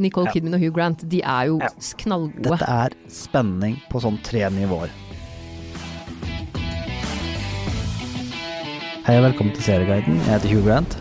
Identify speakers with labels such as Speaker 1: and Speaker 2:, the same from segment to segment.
Speaker 1: Nicole
Speaker 2: Ja.
Speaker 1: Kidman og Hugh Grant, de er jo
Speaker 2: Ja.
Speaker 1: s- knallgode.
Speaker 2: Dette er spenning på sånn tre nivåer. Hei og velkommen til Serieguiden. Jeg heter Hugh Grant.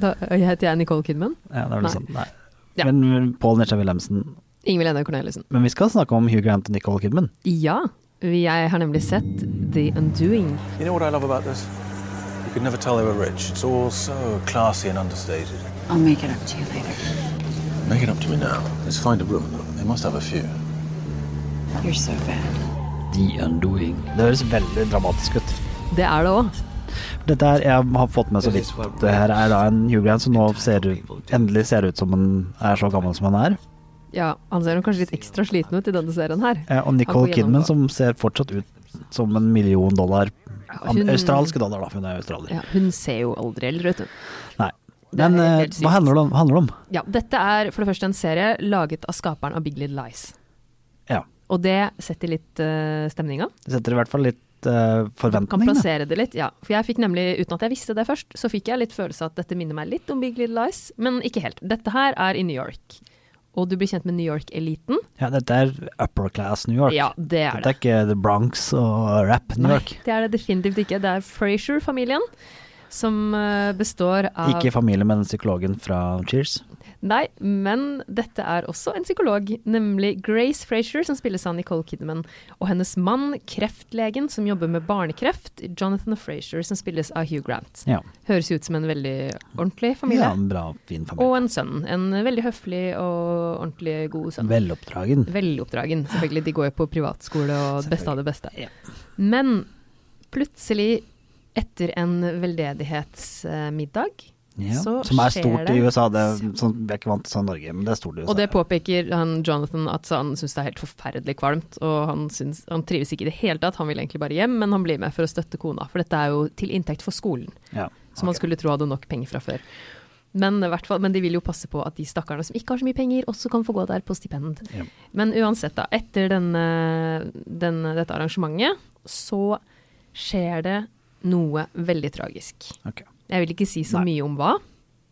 Speaker 1: Da heter jeg Nicole Kidman.
Speaker 2: Ja, det er vel
Speaker 1: Nei.
Speaker 2: sånn. Nei.
Speaker 1: Ja.
Speaker 2: Men Paul Nisha Wilhelmsen.
Speaker 1: Ingvild Enda Corneliussen.
Speaker 2: Men vi skal snakke om Hugh Grant og Nicole Kidman.
Speaker 1: Ja, vi- jeg har nemlig sett The Undoing.
Speaker 3: You know what I love about this? You could never tell they were rich. It's all so classy and understated.
Speaker 4: I'll make it up to you later.
Speaker 3: Make it up to me now. Let's find a room. They must have a few.
Speaker 4: You're so bad.
Speaker 2: The Undoing. Det høres veldig dramatisk ut.
Speaker 1: Det er det òg.
Speaker 2: Dette her, jeg har fått med så vidt. Det her er da en Hugh Grant som nå ser, ut- endelig ser ut som han er så gammel som han er.
Speaker 1: Ja, han ser nok kanskje litt ekstra sliten ut i denne serien her.
Speaker 2: Eh, Og Nicole
Speaker 1: Han får
Speaker 2: Kidman
Speaker 1: gjennomgå.
Speaker 2: som ser fortsatt ut som en million dollar.
Speaker 1: hun-
Speaker 2: Australske dollar, da, for hun er australier.
Speaker 1: Ja, hun ser jo aldri eldre ut, hun.
Speaker 2: Nei.
Speaker 1: Det er
Speaker 2: Men eh,
Speaker 1: helt sykt.
Speaker 2: hva handler det om? Handler det om?
Speaker 1: Ja, dette er for det første en serie laget av skaperen av Big Little Lies.
Speaker 2: Ja.
Speaker 1: Og det setter litt uh, stemninga.
Speaker 2: Det setter i hvert fall litt eh,
Speaker 1: Kan
Speaker 2: forventning. Da.
Speaker 1: plassere det litt, ja. For jeg fikk nemlig, uten at jeg visste det først, så fikk jeg litt følelse av at dette minner meg litt om Big Little Lies, men ikke helt. Dette her er i New York. Og du blir kjent med New York-eliten.
Speaker 2: Ja, dette er upper class New York.
Speaker 1: Ja, det er
Speaker 2: Dette
Speaker 1: det.
Speaker 2: er ikke The Bronx og rap New York.
Speaker 1: Nei, det er det definitivt ikke. Det er Frasier-familien, som eh, består av
Speaker 2: Ikke i familie med den psykologen fra Cheers.
Speaker 1: Nei, men dette er også en psykolog, nemlig Grace Frazier, som spilles av Nicole Kidman, og hennes mann, kreftlegen som jobber med barnekreft, Jonathan Frazier, som spilles av Hugh Grant.
Speaker 2: Ja.
Speaker 1: Høres ut som en veldig ordentlig
Speaker 2: ja,
Speaker 1: familie.
Speaker 2: en bra, fin familie.
Speaker 1: Og en sønn. En veldig høflig og ordentlig god sønn.
Speaker 2: Veloppdragen.
Speaker 1: Veloppdragen, selvfølgelig. De går jo på privatskole og det beste av det beste. Men plutselig, etter en veldedighetsmiddag,
Speaker 2: Ja.
Speaker 1: så
Speaker 2: Som er
Speaker 1: skjer
Speaker 2: stort i
Speaker 1: det-
Speaker 2: USA. Det er, sånn, vi er ikke vant til sånn i Norge, men det er stort i USA.
Speaker 1: Og det påpeker han Jonathan at han syns det er helt forferdelig kvalmt, og han, synes, han trives ikke i det hele tatt. Han vil egentlig bare hjem, men han blir med for å støtte kona, for dette er jo til inntekt for skolen,
Speaker 2: ja.
Speaker 1: som han skulle tro hadde nok penger fra før. Men, i hvert fall, men de vil jo passe på at de stakkarene som ikke har så mye penger, også kan få gå der på stipend.
Speaker 2: Ja.
Speaker 1: Men uansett, da. Etter denne, denne, dette arrangementet, så skjer det noe veldig tragisk.
Speaker 2: Ok.
Speaker 1: Jeg vil ikke si så
Speaker 2: Nei.
Speaker 1: mye om hva,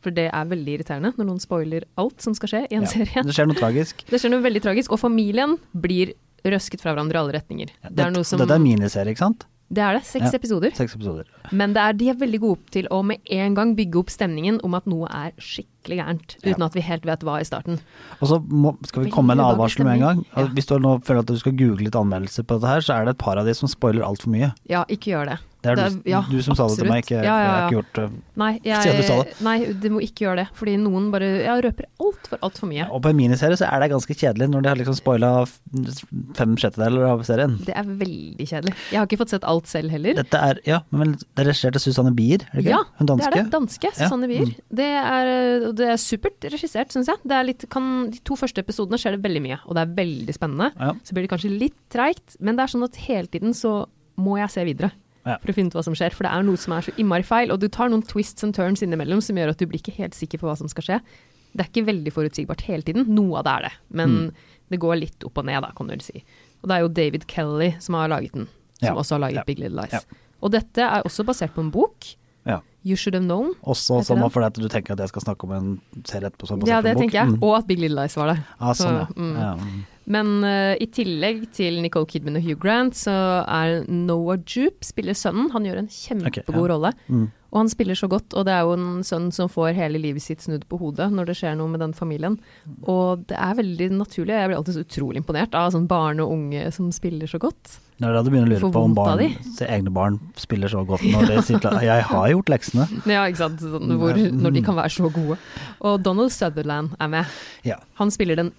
Speaker 1: for det er veldig irriterende når noen spoiler alt som skal skje i en
Speaker 2: Ja.
Speaker 1: serie.
Speaker 2: Det skjer noe tragisk.
Speaker 1: Det skjer noe veldig tragisk, og familien blir røsket fra hverandre i alle retninger.
Speaker 2: Ja,
Speaker 1: Det er noe som
Speaker 2: Dette er miniserie, ikke sant?
Speaker 1: Det er det, seks
Speaker 2: Ja.
Speaker 1: episoder.
Speaker 2: Seks episoder.
Speaker 1: Men det er, de er veldig gode opp til å med en gang bygge opp stemningen om at noe er skikkelig gærent,
Speaker 2: Ja.
Speaker 1: uten at vi helt vet hva i starten.
Speaker 2: Og så må, skal vi
Speaker 1: Veldig
Speaker 2: komme med en
Speaker 1: ubehagelig
Speaker 2: advarsel med en gang. Altså,
Speaker 1: stemning. Ja.
Speaker 2: Hvis du nå føler at du skal google litt anmeldelse på dette her, så er det et par av de som spoiler altfor mye.
Speaker 1: Ja, ikke gjør det.
Speaker 2: Det er
Speaker 1: Det
Speaker 2: du,
Speaker 1: er- ja,
Speaker 2: du som sa det til meg,
Speaker 1: absolutt. Ja,
Speaker 2: ikke,
Speaker 1: ja,
Speaker 2: jeg har ikke
Speaker 1: ja.
Speaker 2: gjort eh, det.
Speaker 1: Nei,
Speaker 2: Siden
Speaker 1: jeg,
Speaker 2: du sa det.
Speaker 1: nei, du må ikke gjøre det. Fordi noen bare ja, røper altfor, altfor mye.
Speaker 2: Og på en miniserie så er det ganske kjedelig når de har liksom spoila f- fem sjettedeler av serien.
Speaker 1: Det er veldig kjedelig. Jeg har ikke fått sett alt selv heller.
Speaker 2: Dette er, ja, men det er regissert av Susanne Bier, er det ikke?
Speaker 1: Ja,
Speaker 2: Hun
Speaker 1: det
Speaker 2: danske. Mm.
Speaker 1: er det. Danske Susanne Bier. Det, er, og det er supert regissert, syns jeg. Det er litt, kan, de to første episodene skjer det veldig mye, og det er veldig spennende.
Speaker 2: Ja.
Speaker 1: Så blir det kanskje litt treigt, men det er sånn at hele tiden så må jeg se videre.
Speaker 2: Ja.
Speaker 1: For å finne ut hva som skjer, for det er noe som er så innmari feil. Og du tar noen twists and turns innimellom som gjør at du blir ikke helt sikker på hva som skal skje. Det er ikke veldig forutsigbart hele tiden. Noe av det er det, men
Speaker 2: Mm.
Speaker 1: det går litt opp og ned, da, kan du vel si. Og det er jo David Kelly som har laget den, som
Speaker 2: Ja.
Speaker 1: også har laget
Speaker 2: Ja.
Speaker 1: Big Little Lies.
Speaker 2: Ja.
Speaker 1: Og dette er også basert på en bok.
Speaker 2: Ja.
Speaker 1: You Should Have Known.
Speaker 2: Også
Speaker 1: Heter
Speaker 2: sånn
Speaker 1: den?
Speaker 2: fordi at du tenker at jeg skal snakke om en serie etterpå. Som er
Speaker 1: Ja,
Speaker 2: basert på
Speaker 1: det
Speaker 2: en bok.
Speaker 1: tenker jeg.
Speaker 2: Mm.
Speaker 1: Og at Big Little Lies var der.
Speaker 2: Ja,
Speaker 1: Så,
Speaker 2: sånn, ja.
Speaker 1: mm.
Speaker 2: ja.
Speaker 1: Men eh, i tillegg til Nicole Kidman og Hugh Grant, så er Noah Jupe spiller sønnen. Han gjør en kjempegod
Speaker 2: Ok, ja.
Speaker 1: rolle.
Speaker 2: Mm.
Speaker 1: Og han spiller så godt, og det er jo en sønn som får hele livet sitt snudd på hodet når det skjer noe med den familien. Og det er veldig naturlig, og jeg blir alltid så utrolig imponert av sånn barn og unge som spiller så godt.
Speaker 2: Det er da du begynner å lure
Speaker 1: Får
Speaker 2: på om
Speaker 1: vondt av
Speaker 2: barn, se, egne barn spiller så godt når de sier til- Jeg har gjort leksene.
Speaker 1: Ja, ikke sant. Sånn,
Speaker 2: Mm,
Speaker 1: hvor, når de kan være så gode. Og Donald Sutherland er med.
Speaker 2: Ja.
Speaker 1: Han spiller den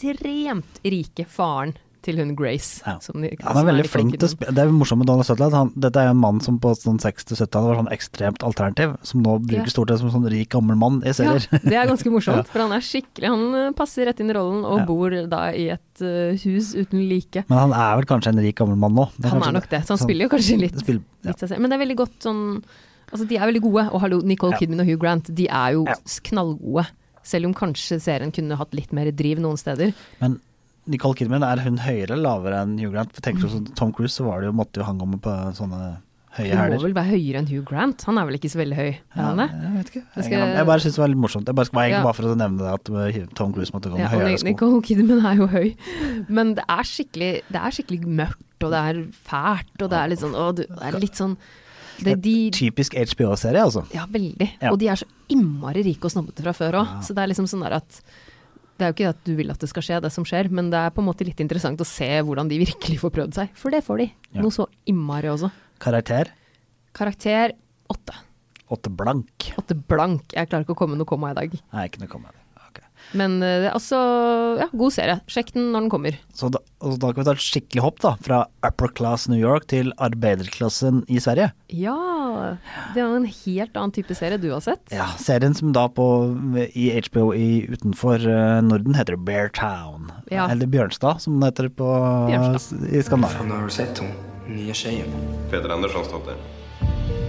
Speaker 1: ekstremt rike faren til hun Grace.
Speaker 2: Ja.
Speaker 1: som de-
Speaker 2: Han
Speaker 1: som
Speaker 2: er veldig
Speaker 1: Nicole
Speaker 2: flink til å
Speaker 1: Kidman.
Speaker 2: spille Det er jo morsomt med Donald Sutherland. Han, dette er jo en mann som på sånn 60-70-tallet var sånn ekstremt alternativ, som
Speaker 1: Ja.
Speaker 2: nå bruker stort sett som sånn rik gammel mann i
Speaker 1: Ja,
Speaker 2: serier.
Speaker 1: det er ganske
Speaker 2: Ja.
Speaker 1: morsomt, for han er skikkelig Han eh, passer rett inn i rollen og
Speaker 2: Ja.
Speaker 1: bor da i et eh, hus uten like.
Speaker 2: Men han er vel kanskje en rik gammel mann nå? Det
Speaker 1: Han
Speaker 2: kanskje
Speaker 1: er nok det, så han
Speaker 2: sånn-
Speaker 1: spiller jo kanskje litt,
Speaker 2: det spiller- ja.
Speaker 1: litt seg selv. Men det er veldig godt sånn Altså, de er veldig gode, og hallo, Nicole
Speaker 2: Ja.
Speaker 1: Kidman og Hugh Grant, de er jo
Speaker 2: Ja.
Speaker 1: s- knallgode. Selv om kanskje serien kunne hatt litt mer driv noen steder.
Speaker 2: Men Nicole
Speaker 1: Mm.
Speaker 2: Kidman, er hun høyere eller lavere enn Hugh Grant? For tenker du sånn Tom Cruise, så var det jo, måtte jo han gå med på sånne høye
Speaker 1: Hun må
Speaker 2: hæler.
Speaker 1: vel være høyere enn Hugh Grant? Han er vel ikke så veldig høy? Er han det?
Speaker 2: jeg vet ikke.
Speaker 1: Jeg
Speaker 2: Jeg,
Speaker 1: skal-
Speaker 2: jeg bare syntes det var litt morsomt. Jeg bare, var egentlig
Speaker 1: Ja.
Speaker 2: bare for å nevne det at eh, Tom Cruise måtte gå med
Speaker 1: Ja, og
Speaker 2: høyere
Speaker 1: Nic-
Speaker 2: sko.
Speaker 1: Nicole Kidman er jo høy, men det er skikkelig, det er skikkelig mørkt, og det er fælt, og det er litt sånn, å, du, det er litt sånn det, de,
Speaker 2: Typisk HBO-serie, altså.
Speaker 1: Ja, veldig.
Speaker 2: Ja.
Speaker 1: Og de er så innmari rike og snobbete fra før òg, så det er liksom sånn der at det er jo ikke at du vil at det skal skje, det som skjer, men det er på en måte litt interessant å se hvordan de virkelig får prøvd seg. For det får de.
Speaker 2: Ja.
Speaker 1: Noe så innmari også.
Speaker 2: Karakter
Speaker 1: Karakter åtte.
Speaker 2: åtte blank.
Speaker 1: Åtte blank. Jeg klarer ikke å komme noe komma i dag.
Speaker 2: Nei, ikke noe komma. Ok.
Speaker 1: Men eh, altså, ja, god serie. Sjekk den når den kommer.
Speaker 2: Så da, og da kan vi ta et skikkelig hopp da, fra upper class New York til arbeiderklassen i Sverige.
Speaker 1: Ja, det er jo en helt annen type serie du har sett.
Speaker 2: Ja, serien som da på, i HBO i, utenfor eh, Norden heter Bear Town.
Speaker 1: Ja.
Speaker 2: Eller Bjørnstad, som den heter på,
Speaker 1: Bjørnstad.
Speaker 2: i Skandinavia.
Speaker 5: Fan, har du sett hon? Nya tjejen.
Speaker 6: Peder Anderssons dotter.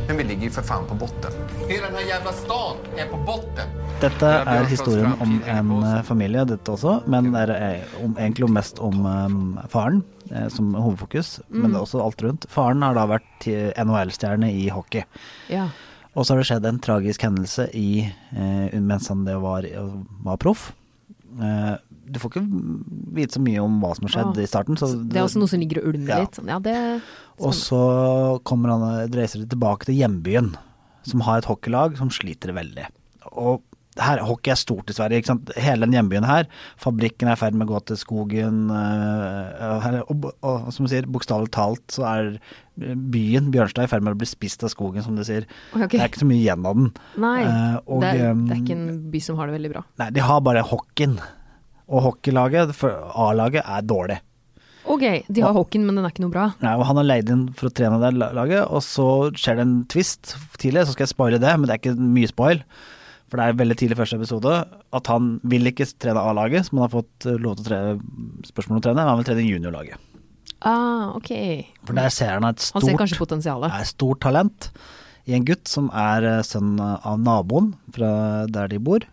Speaker 7: Men vi ligger ju för fan på botten. Hela den här jävla stan är på botten.
Speaker 2: Dette er historien om en eh, familie, dette også, men det er eh, om, egentlig om mest om eh, faren eh, som hovedfokus, men
Speaker 1: Mm.
Speaker 2: det er også alt rundt. Faren har da vært eh, NHL-stjerne i hockey.
Speaker 1: Ja.
Speaker 2: Og så har det skjedd en tragisk hendelse i, eh, mens han det var, var proff. Eh, du får ikke vite så mye om hva som har skjedd
Speaker 1: Ah.
Speaker 2: i starten. Så
Speaker 1: Det er også noe som ligger og ulmer
Speaker 2: Ja.
Speaker 1: litt. Sånn, ja, det
Speaker 2: og så kommer han reiser de tilbake til hjembyen, som har et hockeylag som sliter veldig. Og her, hockey er stort i Sverige. Ikke sant? Hele den hjembyen her. Fabrikken er i ferd med å gå til skogen. øh, her- Og, og, og som du sier, bokstavelig talt så er eh, byen Bjørnstad i ferd med å bli spist av skogen, som du sier.
Speaker 1: Ok.
Speaker 2: Det er ikke så mye igjen av den.
Speaker 1: Nei.
Speaker 2: Eh, og,
Speaker 1: det, er, det
Speaker 2: eh,
Speaker 1: er ikke en by som har det veldig bra.
Speaker 2: Nei, de har bare hockeyen. Og hockeylaget, for A-laget, er dårlig.
Speaker 1: Ok, de har hockeyen, men den er ikke noe bra.
Speaker 2: Nei, og han har leid inn for å trene det la- laget, og så skjer det en twist tidlig, så skal jeg spoile det, men det er ikke mye spoil. For det er veldig tidlig i første episode at han vil ikke trene A-laget, som han har fått eh, lov til å trene, spørsmål om å trene, men han vil trene juniorlaget.
Speaker 1: Ah, ok.
Speaker 2: For der ser han et stort
Speaker 1: Han ser kanskje potensialet.
Speaker 2: er et stort talent i en gutt som er eh, sønn av naboen fra der de bor.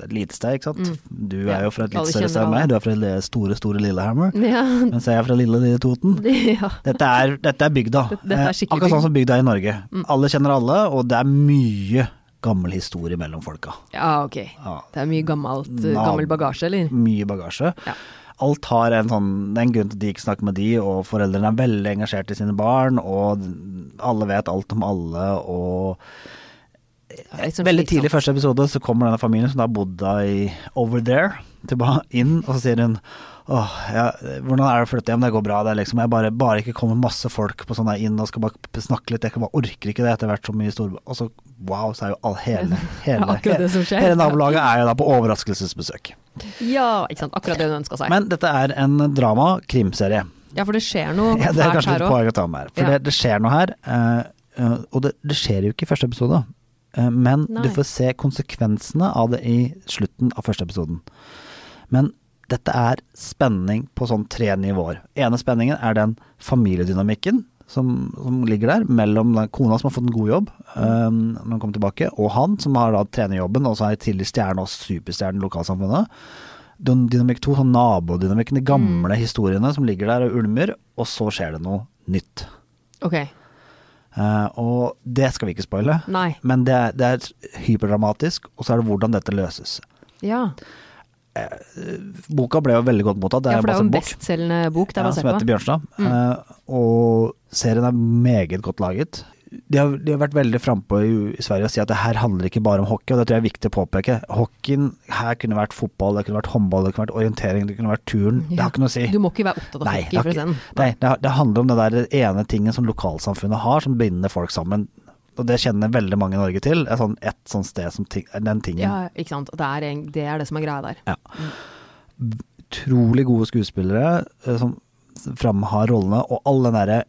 Speaker 2: Det er et lite sted, ikke sant? Du
Speaker 1: Mm. Ja,
Speaker 2: er jo fra et
Speaker 1: alle
Speaker 2: litt større sted enn
Speaker 1: kjenner alle.
Speaker 2: meg, du er fra le- store, store Lillehammer.
Speaker 1: Ja.
Speaker 2: Mens jeg er fra lille, lille Toten.
Speaker 1: ja.
Speaker 2: Dette er, dette er bygda.
Speaker 1: Dette- dette er
Speaker 2: Eh,
Speaker 1: skikkelig
Speaker 2: Akkurat
Speaker 1: bygd. Mm.
Speaker 2: sånn som bygda er i Norge. Alle kjenner alle, og det er mye gammel historie mellom folka.
Speaker 1: ja, ok. Det er mye gammelt, eh,
Speaker 2: Nav-
Speaker 1: gammel bagasje, eller?
Speaker 2: Mye bagasje.
Speaker 1: Ja.
Speaker 2: Alt har en sånn Det er en grunn til at de ikke snakker med de, og foreldrene er veldig engasjert i sine barn, og alle vet alt om alle, og
Speaker 1: Det er litt sånn
Speaker 2: Veldig tidlig i
Speaker 1: slitsomt.
Speaker 2: første episode så kommer denne familien som da har bodd da i over there, tilba- inn, og så sier hun Åh, ja, hvordan er det å flytte hjem, det går bra, det er liksom Jeg bare, bare ikke kommer masse folk på sånn der inn og skal bare p- snakke litt, jeg kan bare orker ikke det etter hvert så mye stor... Og så wow, så er jo all, hele, hele,
Speaker 1: akkurat det som skjer.
Speaker 2: hele nabolaget er jo da på overraskelsesbesøk.
Speaker 1: Ja, ikke sant. Akkurat det hun ønska seg.
Speaker 2: Men dette er en drama-krimserie.
Speaker 1: ja, for det skjer noe
Speaker 2: Ja, det er
Speaker 1: fælt
Speaker 2: kanskje
Speaker 1: her
Speaker 2: et
Speaker 1: òg.
Speaker 2: poeng å ta med her. For
Speaker 1: Ja.
Speaker 2: det, det skjer noe her, eh, eh, og det, det skjer jo ikke i første episode. eh, men
Speaker 1: Nei.
Speaker 2: du får se konsekvensene av det i slutten av første episoden. Men dette er spenning på sånn tre nivåer. Ene spenningen er den familiedynamikken som, som ligger der, mellom den kona som har fått en god jobb eh, når hun kommer tilbake, og han som har da trenerjobben, og så er tidligere stjerne og superstjerne i lokalsamfunnet den dynamikk to, sånn nabodynamikken, de gamle historiene som ligger der og ulmer, og så skjer det noe nytt.
Speaker 1: Ok.
Speaker 2: Eh, og det skal vi ikke spoile,
Speaker 1: Nei.
Speaker 2: men det er, det er hyperdramatisk, og så er det hvordan dette løses.
Speaker 1: Ja.
Speaker 2: Boka ble jo veldig godt mottatt, det
Speaker 1: ja,
Speaker 2: er
Speaker 1: for det er
Speaker 2: bare
Speaker 1: jo
Speaker 2: en
Speaker 1: en
Speaker 2: bok
Speaker 1: bestselgende bok det er
Speaker 2: ja, som
Speaker 1: basert
Speaker 2: heter
Speaker 1: på. Mm.
Speaker 2: Bjørnstad. Eh, og serien er meget godt laget. De har, de har vært veldig frampå i, i Sverige og si at det her handler ikke bare om hockey, og det tror jeg er viktig å påpeke. Hockeyen her kunne vært fotball, det kunne vært håndball, det kunne vært orientering, det kunne vært turn. Det har ikke noe å si.
Speaker 1: Du må ikke være opptatt av
Speaker 2: Nei,
Speaker 1: hockey
Speaker 2: det,
Speaker 1: for å sånn.
Speaker 2: har
Speaker 1: se
Speaker 2: ikke-
Speaker 1: den.
Speaker 2: nei det, har- det handler om det der ene tingen som lokalsamfunnet har, som binder folk sammen. Og det kjenner veldig mange i Norge til. Et sånn, et sånt sted som ting, den tingen.
Speaker 1: Ja, ikke sant. Det er, en- det er det som er greia der.
Speaker 2: Utrolig gode skuespillere eh, som framhar rollene, og alle den derre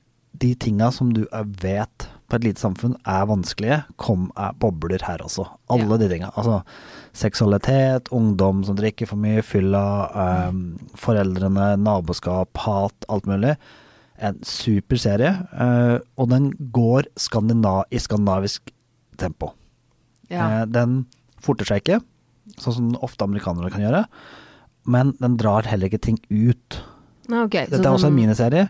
Speaker 2: De tinga som du eh, vet på et lite samfunn er vanskelige, kom er bobler her også. Alle
Speaker 1: Ja.
Speaker 2: de tinga. Altså seksualitet, ungdom som drikker for mye, fylla, eh, foreldrene, naboskap, hat, alt mulig. en super serie, eh, og den går skandina i skandinavisk tempo.
Speaker 1: Ja.
Speaker 2: Eh, den forter seg ikke, sånn som ofte amerikanere kan gjøre, men den drar heller ikke ting ut.
Speaker 1: Nei, Ah, ok, så sånn-
Speaker 2: Dette er også
Speaker 1: den-
Speaker 2: en miniserie, eh,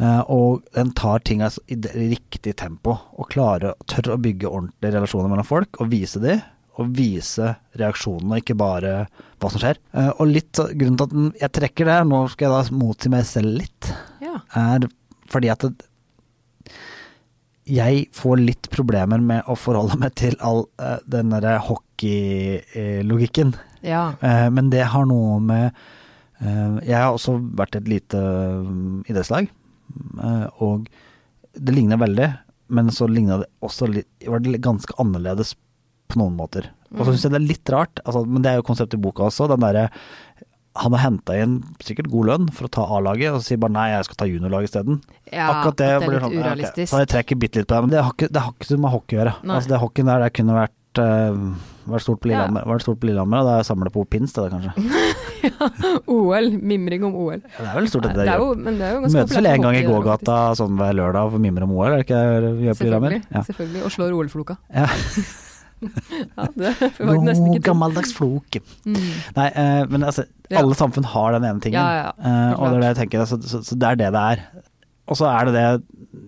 Speaker 2: Eh, og den tar ting altså, i det riktig tempo, og klarer tør å bygge ordentlige relasjoner mellom folk, og vise de, og vise reaksjonene, ikke bare hva som skjer. Eh, og litt så- grunnen til at den, jeg trekker det, nå skal jeg da motsi meg selv litt,
Speaker 1: Ja.
Speaker 2: er fordi at det, jeg får litt problemer med å forholde meg til all eh, den eh, derre hockeylogikken.
Speaker 1: ja.
Speaker 2: Eh, men det har noe med eh, Jeg har også vært i et lite mm, idrettslag, eh, og det ligna veldig, men så ligna det også litt Var det ganske annerledes på noen måter. Og
Speaker 1: Mm.
Speaker 2: så syns jeg det er litt rart, altså, men det er jo konseptet i boka også, den derre han har henta inn sikkert god lønn for å ta A-laget, og så sier bare nei, jeg skal ta juniorlaget isteden.
Speaker 1: Ja,
Speaker 2: Akkurat det,
Speaker 1: at det er
Speaker 2: blir
Speaker 1: litt
Speaker 2: sånn, ja, ok.
Speaker 1: urealistisk.
Speaker 2: Så jeg trekker bitte litt på det, men det har ikke, det har ikke så med hockey å gjøre.
Speaker 1: Nei.
Speaker 2: Altså, det hockeyen der, det kunne vært, eh, vært stort
Speaker 1: Ja.
Speaker 2: på Lillehammer, vært stort på Lillehammer og da samler på pins, det da kanskje.
Speaker 1: OL. Mimring om OL.
Speaker 2: Ja, Det er vel stort
Speaker 1: Nei,
Speaker 2: sett det
Speaker 1: det er
Speaker 2: de
Speaker 1: jo,
Speaker 2: gjør.
Speaker 1: men det er jo ganske
Speaker 2: Møtes vel
Speaker 1: populært
Speaker 2: en gang i
Speaker 1: hockey, det
Speaker 2: gågata sånn hver lørdag og mimer om OL, er det ikke det vi
Speaker 1: faktisk.
Speaker 2: gjør på Lillehammer?
Speaker 1: Selvfølgelig. selvfølgelig. Og slår OL-floka.
Speaker 2: Ja.
Speaker 1: ja, det var
Speaker 2: God,
Speaker 1: nesten ikke dumt.
Speaker 2: gammeldags floke.
Speaker 1: Mm.
Speaker 2: Nei, eh, men altså,
Speaker 1: Ja.
Speaker 2: alle samfunn har den ene tingen.
Speaker 1: Ja, ja, ja.
Speaker 2: eh, og det er det
Speaker 1: Klart.
Speaker 2: jeg tenker, så, så, så det er det det er. Og så er det det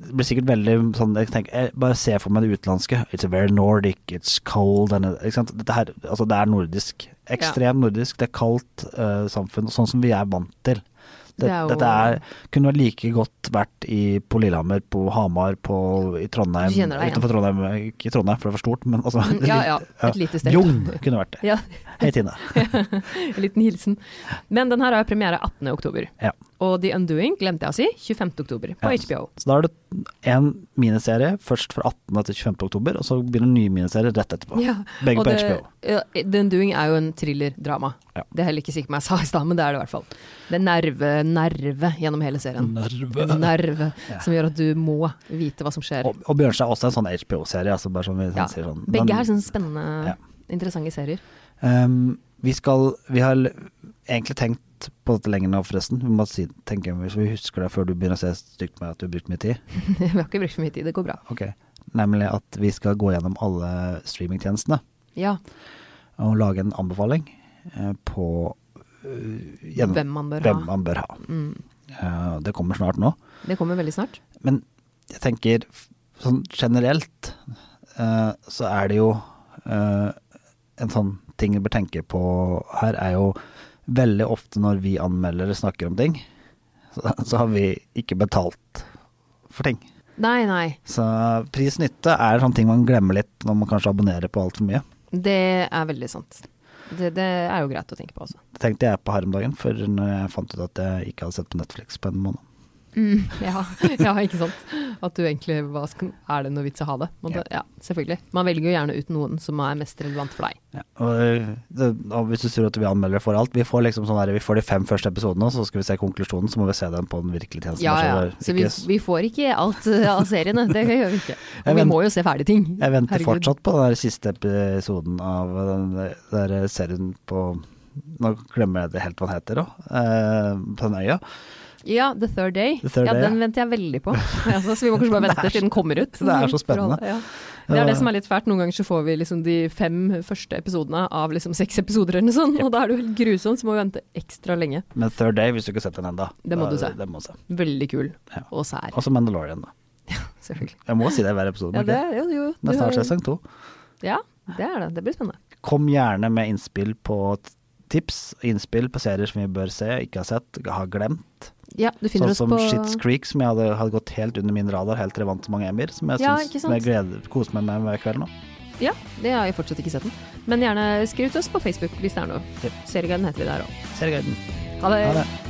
Speaker 2: Det blir sikkert veldig sånn jeg tenker, jeg Bare se for meg det utenlandske. It's very Nordic, it's cold and, ikke sant? Dette her, altså Det er nordisk. Ekstremt nordisk. Det er kaldt eh, samfunn, sånn som vi er vant til.
Speaker 1: Det
Speaker 2: Det,
Speaker 1: er jo-
Speaker 2: Dette er, kunne like godt vært i, på Lillehammer, på Hamar, på, i Trondheim
Speaker 1: Du kjenner deg igjen.
Speaker 2: Utenfor Trondheim, ikke i Trondheim, for det er for stort, men altså
Speaker 1: Ja, ja, et lite sted.
Speaker 2: Bjugn kunne vært det.
Speaker 1: Ja,
Speaker 2: Hei, Tine.
Speaker 1: en liten hilsen. Men den her har premiere 18. oktober.
Speaker 2: Ja.
Speaker 1: Og The Undoing, glemte jeg å si, 25. oktober på HBO.
Speaker 2: Så da er det en miniserie først fra 18. til 25. oktober, og så begynner en ny miniserie rett etterpå.
Speaker 1: Ja,
Speaker 2: Begge
Speaker 1: og
Speaker 2: på
Speaker 1: det,
Speaker 2: HBO.
Speaker 1: Ja, The Undoing er jo en thriller-drama.
Speaker 2: Ja.
Speaker 1: Det er heller ikke sikkert om jeg sa i stad, men det er det i hvert fall. Det er nerve, nerve gjennom hele serien.
Speaker 2: Nerve.
Speaker 1: Nerve som gjør at du må vite hå som skjer.
Speaker 2: Og, og Bjørnstad er også en sånn HBO-serie. Altså bare som vi
Speaker 1: Ja.
Speaker 2: sier sånn.
Speaker 1: Begge
Speaker 2: Men,
Speaker 1: er sånne spennende,
Speaker 2: Ja.
Speaker 1: interessante serier.
Speaker 2: ehm, vi skal Vi har l- egentlig tenkt på dette lenger nå, forresten. Vi må si, tenke hvis vi husker det før du begynner å se stygt med at du har brukt mye tid.
Speaker 1: Vi har ikke brukt for mye tid, det går bra.
Speaker 2: Ok. Nemlig at vi skal gå gjennom alle streamingtjenestene.
Speaker 1: Ja,
Speaker 2: og lage en anbefaling eh, på eh, gjennom-
Speaker 1: Hvem man bør
Speaker 2: hvem
Speaker 1: ha. Mm.
Speaker 2: man bør ha. Eh, det kommer snart nå.
Speaker 1: det kommer veldig snart.
Speaker 2: Men jeg tenker f- sånn generelt eh, så er det jo eh, en sånn ting vi bør tenke på her, er jo veldig ofte når vi anmeldere snakker om ting, så, så har vi ikke betalt for ting.
Speaker 1: Nei, nei.
Speaker 2: Så pris-nytte er sånne ting man glemmer litt når man kanskje abonnerer på altfor mye.
Speaker 1: Det er veldig sant. Det, det er jo greit å tenke på også.
Speaker 2: Det tenkte jeg på her om dagen, for når jeg fant ut at jeg ikke hadde sett på Netflix på en måned.
Speaker 1: Ja, ja, ikke sant. At du egentlig hva skal, Er det noe vits å ha det? Man,
Speaker 2: Ja.
Speaker 1: ja, selvfølgelig. Man velger jo gjerne ut noen som er mest relevant for deg.
Speaker 2: Ja, og, eh, det, og hvis du tror at vi anmelder for alt, vi får liksom sånn der, vi får de fem første episodene, og så skal vi se konklusjonen, så må vi se den på den virkelige tjenesten.
Speaker 1: Ja, ja.
Speaker 2: der,
Speaker 1: Så
Speaker 2: det
Speaker 1: vi,
Speaker 2: er ikke-
Speaker 1: vi får ikke alt eh, av seriene. Det gjør vi ikke.
Speaker 2: Jeg
Speaker 1: Og vi
Speaker 2: vent-
Speaker 1: må jo se ferdig ting.
Speaker 2: jeg venter
Speaker 1: Herregud.
Speaker 2: fortsatt på den der siste episoden av eh, den der serien på Nå glemmer jeg det helt hva den heter, da. Eh, på den øya.
Speaker 1: Ja, The Third Day.
Speaker 2: The Third
Speaker 1: ja,
Speaker 2: Day,
Speaker 1: Den
Speaker 2: ja.
Speaker 1: venter jeg veldig på. Altså, så vi må kanskje bare vente til den kommer ut.
Speaker 2: det er så spennende. Eh.
Speaker 1: Ja. Det er det som er litt fælt. Noen ganger så får vi liksom de fem første episodene av liksom seks episoder eller noe sånt, og da er det jo helt grusomt, så må vi vente ekstra lenge.
Speaker 2: Men Third Day, hvis du ikke har sett den ennå.
Speaker 1: Det må du se.
Speaker 2: Det må du se.
Speaker 1: Veldig kul
Speaker 2: Ja.
Speaker 1: og sær,
Speaker 2: Også Mandalorian, da.
Speaker 1: selvfølgelig.
Speaker 2: Jeg må si det i hver episode.
Speaker 1: Ja,
Speaker 2: må
Speaker 1: det,
Speaker 2: ikke jeg?
Speaker 1: jo, jo,
Speaker 2: det er
Speaker 1: du
Speaker 2: snart
Speaker 1: har-
Speaker 2: sesong to.
Speaker 1: Ja, det er det. Det blir spennende.
Speaker 2: Kom gjerne med innspill på t- tips og innspill på serier som vi bør se, ikke har sett, har glemt.
Speaker 1: Ja, du finner
Speaker 2: Sånn
Speaker 1: oss
Speaker 2: som
Speaker 1: på
Speaker 2: Shits Creek, som jeg hadde, hadde gått helt under min radar, helt til jeg vant så mange Emmy-er. Som jeg,
Speaker 1: Ja, ikke sant?
Speaker 2: syns, som jeg gleder, koser meg med hver kveld nå.
Speaker 1: Ja, det har jeg fortsatt ikke sett den. Men gjerne skriv til oss på Facebook hvis det er noe.
Speaker 2: Ja.
Speaker 1: Serieguiden heter vi der òg.
Speaker 2: Serieguiden.
Speaker 1: Ha det.
Speaker 2: Ha det.